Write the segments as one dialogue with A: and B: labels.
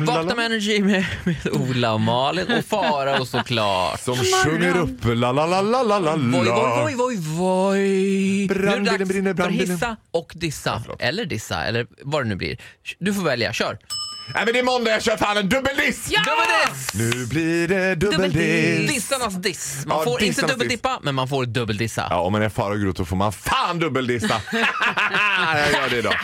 A: Vakna med energi med, med Ola och Malin och Farao såklart.
B: Som sjunger upp la la la la la la
A: Voj, voj,
B: la.
A: voj, voj, voj. nu är
B: Brandbilen
A: det dags
B: brinner,
A: för
B: brandbilen.
A: hissa och dissa. eller dissa, eller vad det nu blir. Du får välja, kör.
B: Nej men det är måndag, jag kör fan en dubbeldiss!
A: Ja! Dubbeldiss!
B: Nu blir det dubbeldiss!
A: Dissarnas diss. Man
B: Ja,
A: får inte
B: dissarnas
A: dubbeldippa, men man får dubbeldissa.
B: Ja, om man är far och grot så får man fan dubbeldissa! jag gör det idag.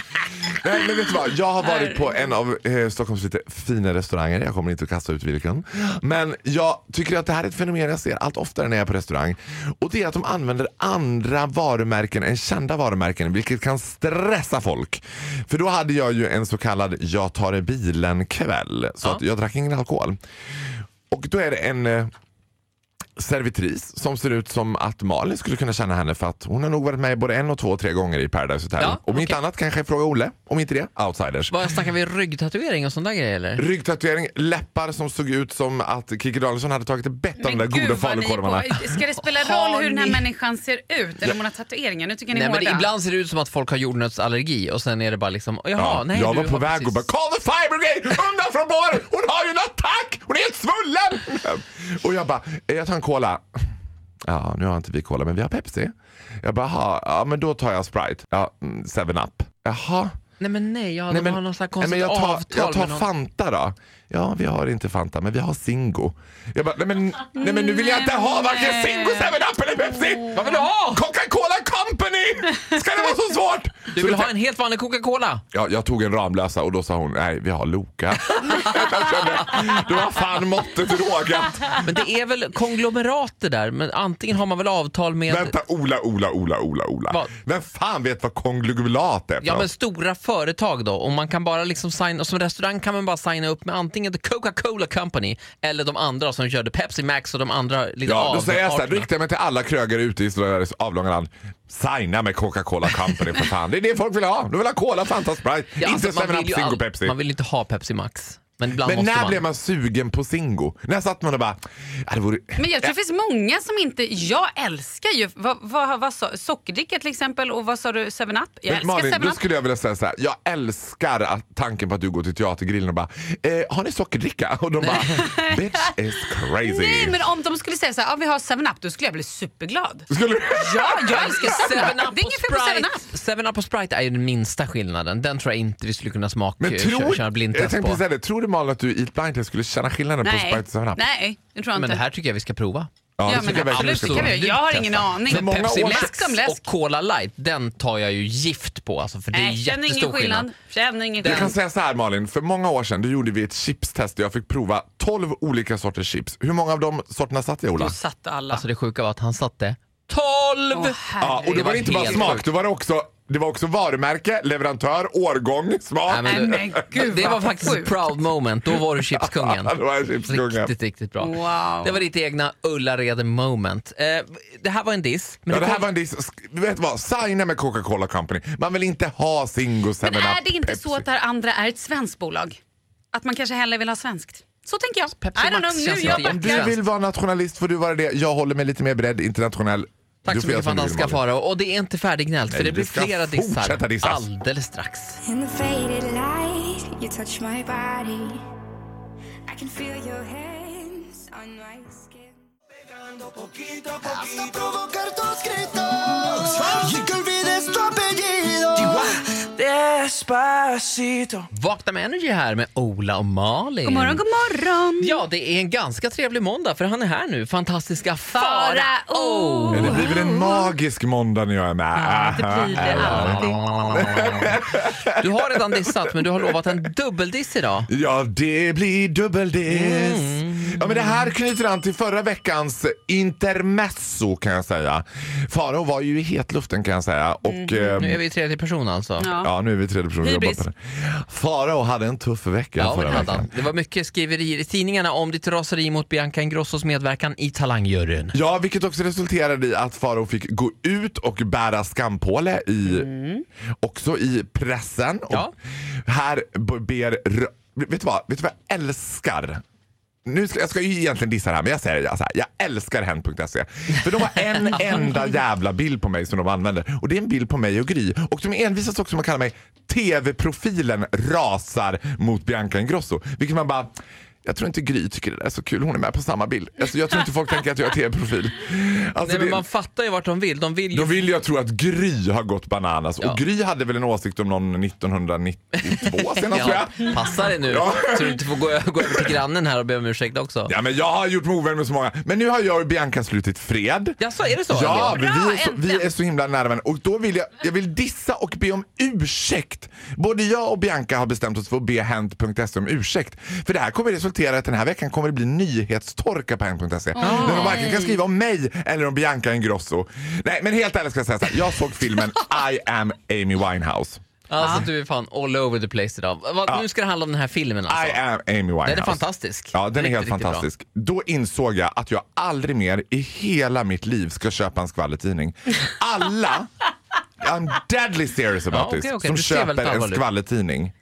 B: Nej, men vet du vad? Jag har varit på en av eh, Stockholms lite fina restauranger. Jag kommer inte att kasta ut vilken. Men jag tycker att det här är ett fenomen jag ser allt oftare när jag är på restaurang. Och det är att de använder andra varumärken än kända varumärken, vilket kan stressa folk. För då hade jag ju en så kallad jag tar i bilen-kväll. Så att jag drack ingen alkohol. Och då är det en eh, servitris som ser ut som att Malin skulle kunna känna henne för att hon har nog varit med både en och två tre gånger i Paradise Hotel.
A: Ja,
B: Om inte
A: okej.
B: annat kanske Fråga Olle, om inte det, Outsiders.
A: Vad snackar vi ryggtatuering och sån där grej eller?
B: Ryggtatuering, läppar som såg ut som att Kikki Danielsson hade tagit ett bett om de där
C: Men gud,
B: goda
C: vad ni är
B: falukorvarna.
C: på- Ska det spela
A: Har
C: roll hur den här
A: ni-
C: människan ser ut? Eller om hon har tatueringar? Nu tycker ni
A: Nej, men det,
C: hårda.
A: ibland ser det ut som att folk har jordnötsallergi och sen är det bara liksom, jaha,
B: Ja,
A: nej
B: jag
A: du
B: var på
A: har
B: väg
A: precis-
B: och bara Call the fire brigade! Undan från båren! Hon har ju en attack! Hon är helt svullen! och jag bara, "Eh, jag tar en cola. Ja, nu har inte vi cola men vi har Pepsi. Jag bara, "Jaha, ja men då tar jag Sprite. Ja, mm, Seven up Jaha.
A: Nej men nej, jag,
B: Nej,
A: de har någon sån här
B: nej,
A: konstigt
B: men jag tar,
A: avtal
B: jag tar
A: med någon.
B: Fanta då. Ja, vi har inte Fanta, men vi har Singo. Jag bara, nej men, nej, men nu vill jag inte ha varken
C: Nej.
B: Singo, 7-Up eller Pepsi!
A: Vad vill du ha?
B: Coca-Cola Company! Ska det vara så svårt?
A: Du
B: Så
A: vill
B: då-
A: ha en helt vanlig Coca-Cola?
B: Ja, jag tog en Ramlösa och då sa hon, nej vi har Loka. jag kände, det var fan måttet rågat.
A: Men det är väl konglomerat det där, men antingen har man väl avtal med
B: Vänta, Ola, Ola, Ola, Ola, Ola.
A: Vad?
B: Vem fan vet vad konglomerat är för
A: Ja men
B: något?
A: stora företag då och man kan bara liksom signa, och som restaurang kan man bara signa upp med antingen The Coca-Cola Company eller de andra som körde Pepsi Max och de andra lite
B: Ja, då
A: av-
B: säger jag så här, då
A: arterna.
B: riktar jag mig till alla krögare ute i Sveriges avlånga land. Signa med Coca-Cola Company för fan. Det är det folk vill ha. De vill ha Cola, Fanta, Sprite. inte
A: Ja, alltså, man
B: 7-Up,
A: vill ju
B: Zingo,
A: all-
B: Pepsi.
A: Man vill inte ha Pepsi Max. Men ibland
B: Men
A: måste
B: när
A: man.
B: blev man sugen på Zingo? När satt man och bara, ja, det vore...
C: Men jag tror det finns många som inte... Jag älskar ju vad, vad, vad, sa- sockerdricka till exempel och vad sa du, 7-Up? Jag
B: Men
C: älskar
B: Malin, då
C: 7-Up.
B: skulle jag vilja säga så här. Jag älskar att tanken på att du går till teatergrillen och bara eh, “Har ni sockerdricka?” och de bara “Bitch is crazy”.
C: Nej men om de skulle säga så här, ja, vi har 7-Up, då skulle jag bli superglad.
B: Skulle du?
C: Ja, jag älskar 7-Up.
A: Seven-Up
C: Det är
A: och
C: inget fel på 7-Up.
A: Sprite. Seven up och Sprite är ju den minsta skillnaden. Den tror jag inte vi skulle kunna smaka
B: Men
A: köra,
B: tror,
A: köra
B: jag
A: blindtest
B: tänkte
A: på.
B: säga det, tror du Malin att du i ett blindtest skulle känna skillnaden på
C: Nej,
B: Sprite och 7-Up?
C: nej, det tror jag inte.
A: Men det här tycker jag vi ska prova.
B: Ja,
C: ja,
B: det
C: men
B: tycker jag verkligen du
C: absolut,
B: ska
C: det kan
B: prova.
C: vi göra. Jag har ingen aning.
B: Men många
A: Pepsi
B: år
A: Max
C: Läsk som läsk.
A: och Cola Light, den tar jag ju gift på alltså, för det är
C: Nej, känner ingen
A: jättestor skillnad.
C: skillnad. Känner ingen
B: Jag kan
C: skillnad.
B: säga så här Malin, för många år sedan då gjorde vi ett chipstest där jag fick prova 12 olika sorters chips. Hur många av de sorterna satt jag Ola?
C: Då satte alla.
A: Alltså det sjuka var att han satte 12!
C: Åh,
B: Ja, och
A: det
B: då var
A: var
B: det inte bara
A: helt
B: smak,
A: sjukt.
B: då var det också, det var också varumärke, leverantör, årgång, smak.
A: Nej, men
C: Nej, men gud,
A: det var
C: vad
A: faktiskt ett
C: sjukt.
A: proud moment. Då var du chipskungen.
B: Ja, då var jag chipskungen.
A: Riktigt, riktigt bra.
C: Wow.
A: Det var ditt egna Ullared moment. Eh, det här var en diss. Men
B: Ja, det här
A: kom-
B: var en diss. Sk- Vet du vad? Signa med Coca-Cola Company. Man vill inte ha Zingo, 7
C: Men är det inte så att det här andra är ett svenskt bolag? Att man kanske hellre vill ha svenskt? Så tänker jag.
A: Pepsi
C: I don't
A: Max
C: know,
A: känns
C: nu jag
A: inte
C: backar.
B: Om du vill vara nationalist får du vara det. Jag håller mig lite mer bredd, internationell.
A: Tack
B: Du
A: så
B: får
A: mycket
B: göra som du vill,
A: fantastiska
B: Malin.
A: Farao. Och det är inte färdiggnällt för
B: Nej,
A: det
B: det
A: blir
B: ska
A: flera
B: fortsätta
A: dissar
B: dissas.
A: alldeles strax.
D: In the faded light, you touch my body. I can feel your hands on my skin.
E: Hasta provocar tus gritos Y que olvides tu apellido Despacito
A: Vakna med Energy här med Ola och Malin.
C: God morgon, god
B: Mm.
C: morgon.
A: Ja, det är en ganska trevlig måndag för han är här nu, fantastiska Farao!
C: Farao.
B: Men Det blir väl en magisk måndag när jag Oh. är med.
C: det blir det alltid.
A: Du har redan dissat men du har lovat en dubbeldiss idag.
B: Ja, det blir dubbeldiss. Ja, men det här knyter an till förra veckans intermezzo kan jag säga. Farao var ju i hetluften kan jag säga. Och, ehm,
A: Nu är vi i tredje person alltså.
C: Ja.
B: Ja, nu är vi i tredje person.
C: Hybris.
B: Jobbar på det. Farao hade en tuff vecka
A: Ja,
B: förra
A: det, hade
B: veckan.
A: han. det var mycket skriverier i tidningarna om ditt raseri mot Bianca Ingrossos medverkan i Talangjuryn.
B: Ja, vilket också resulterade i att Faro fick gå ut och bära skampåle i, också i pressen.
A: Ja.
B: Och här b- ber... r- Vet du, vad, vet du vad jag älskar nu ska, jag ska ju egentligen dissa det här men jag säger det. Så här, jag älskar hen.se. För de har en enda jävla bild på mig som de använder. Och det är en bild på mig och Gry. Och de envisas också med att kalla mig TV-profilen rasar mot Bianca Ingrosso. Vilket man bara jag tror inte Gry tycker det där är så kul, hon är med på samma bild. Alltså, jag tror inte folk tänker att jag är TV-profil. Alltså,
A: Nej, men
B: det-
A: man fattar ju vart de vill. De vill ju
B: då vill jag tro att Gry har gått bananas.
A: Ja.
B: Och Gry hade väl en åsikt om någon 1992 senast tror
A: Ja,
B: jag.
A: passa dig nu
B: Ja.
A: så du inte får gå, gå över till grannen här och be om ursäkt också.
B: Ja, men jag har gjort mig ovän med så många. Men nu har jag och Bianca slutit fred.
A: Jaså, är det så?
B: Ja,
A: Emil?
B: men vi, är så,
C: äntligen.
B: vi är så himla nära varandra. Och då vill jag, jag vill dissa och be om ursäkt. Både jag och Bianca har bestämt oss för att be Hent.se E om ursäkt. För det här kommer resultera i att den här veckan kommer det bli nyhetstorka på Hent.se. E. Där de varken kan skriva om mig eller om Bianca Ingrosso. Nej, men helt ärligt ska jag säga så här. Jag såg filmen I am Amy Winehouse.
A: Alltså du är fan all over the place idag. Va, Nu ska det handla om den här filmen alltså.
B: I am Amy Winehouse.
A: Den är fantastisk.
B: Ja, den är
A: Riktigt,
B: helt
A: riktigt bra.
B: fantastisk. Då insåg jag att jag aldrig mer i hela mitt liv ska köpa en skvallertidning. Alla, I'm deadly serious about
A: Ja, okej,
B: this,
A: okej.
B: som
A: Du ser väldigt
B: köper en
A: allvarlig ut.
B: skvallertidning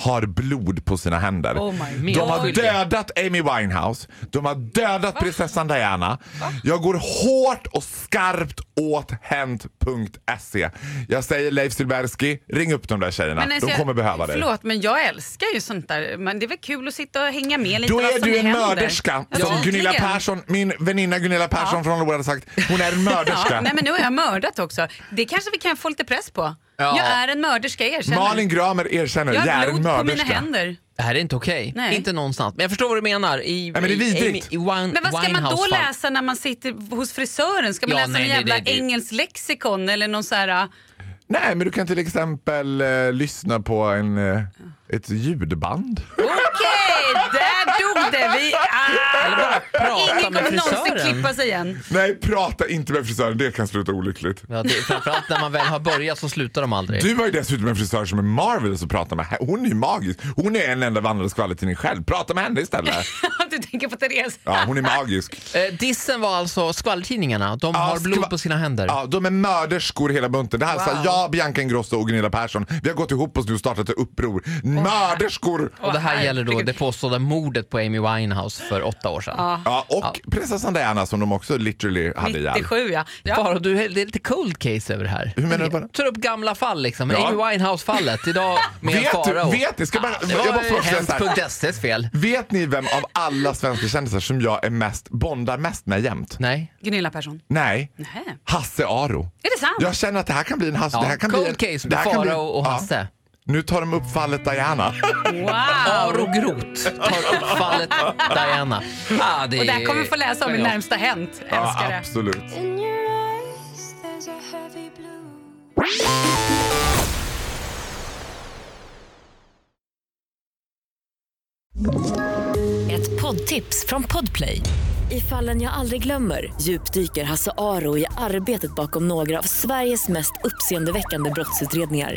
B: har blod på sina händer.
C: Oh my
B: de har
A: God.
B: dödat Amy Winehouse, de har dödat prinsessan Diana. Jag går hårt och skarpt åt Hent.se. E. Jag säger Leif Silbersky, ring upp de där tjejerna.
C: Men alltså,
B: de
C: jag-
B: kommer behöva dig.
C: Förlåt, men jag älskar ju sånt där. Men det är väl kul att sitta och hänga med lite
B: Då
C: vad
B: är
C: som
B: du en
C: händer.
B: mörderska.
C: Ja,
B: Som
C: verkligen.
B: Gunilla Persson, min väninna Gunilla Persson från Lora hade sagt. Hon är en
C: Ja,
B: mörderska.
C: nej men nu har jag mördat också. Det kanske vi kan få lite press på.
A: Ja.
C: Jag är en mörderska, erkänner.
B: Malin Gramer erkänner,
C: jag
B: jag
C: har
B: är en
C: blod på mina
B: mörderska.
C: händer.
A: Det här är inte okej.
C: Nej.
A: Inte någonstans. Men jag förstår vad du menar. I,
B: men det är
A: i-
B: vidrigt.
A: I, i Wine,
C: Men vad ska man då
A: Winehouse fall.
C: läsa när man sitter hos frisören? Ska man
A: Ja,
C: läsa
A: nej,
C: någon
A: nej,
C: jävla
A: det- det-
C: engelsk lexikon eller någon så här... ah,
B: Nej, men du kan till exempel eh, lyssna på en, eh, ett ljudband.
C: Okej, där dog det! Vi,
A: Eller
C: ah,
A: bara prata
C: ingen
A: med
C: kommer någonsin
A: frisören.
C: klippa sig igen.
B: Nej, prata inte med frisören. Det kan sluta olyckligt.
A: Ja, det, framförallt när man väl har börjat så slutar de aldrig.
B: Du har ju dessutom en frisör som är Marvel att prata med. Hon är ju magisk. Hon är en enda vandrande skvallertidning själv. Prata med henne istället.
C: du tänker på Therese.
B: Ja, hon är magisk.
A: Eh, dissen var alltså skvallertidningarna. De
B: Ja,
A: har blod
B: skva-
A: på sina händer.
B: Ja, de är mörderskor hela bunten. Det här sa
C: Wow.
B: jag, Bianca Ingrosso och Gunilla Persson. Vi har gått ihop oss nu och startat ett uppror. Mörderskor!
A: Och det här
C: Åh,
A: gäller då
C: herregud.
A: det påstådda mordet på Amy Winehouse för åtta år sedan.
B: Ja, och prinsessan Diana som de också literally hade ihjäl.
C: 97 ja. ja.
A: Bara, du, det är lite cold case över det här.
B: Hur menar du bara?
A: Tar upp gamla fall liksom.
B: Ja.
A: Amy Winehouse-fallet idag med
B: Vet du-
A: Farao.
B: vet du? Ska man-
A: det
B: jag
A: var
B: måste bara säga så här.
A: Hent.ses fel.
B: Vet ni vem av alla svenska kändisar som jag är mest, bondar mest med jämt?
A: Nej.
C: Gunilla Persson.
B: Nej.
C: Nej.
B: Hasse Aro.
C: Är det sant?
B: Jag känner att det här kan bli en Hasse.
A: Ja,
B: det här kan
A: cold
B: bli en,
A: case
B: det
A: med
B: här kan bli-
A: Farao och
B: ja.
A: Hasse.
B: Nu tar de upp fallet Diana.
C: Wow!
A: Aro Groth tar upp fallet Diana. Ah, det
C: Och det här
A: är-
C: kommer vi få läsa om i närmsta Hänt. Älskar
B: ja,
C: det.
B: absolut.
D: In your eyes, there's a heavy blue.
F: Ett poddtips från Podplay. I fallen jag aldrig glömmer djupdyker Hasse Aro i arbetet bakom några av Sveriges mest uppseendeväckande brottsutredningar.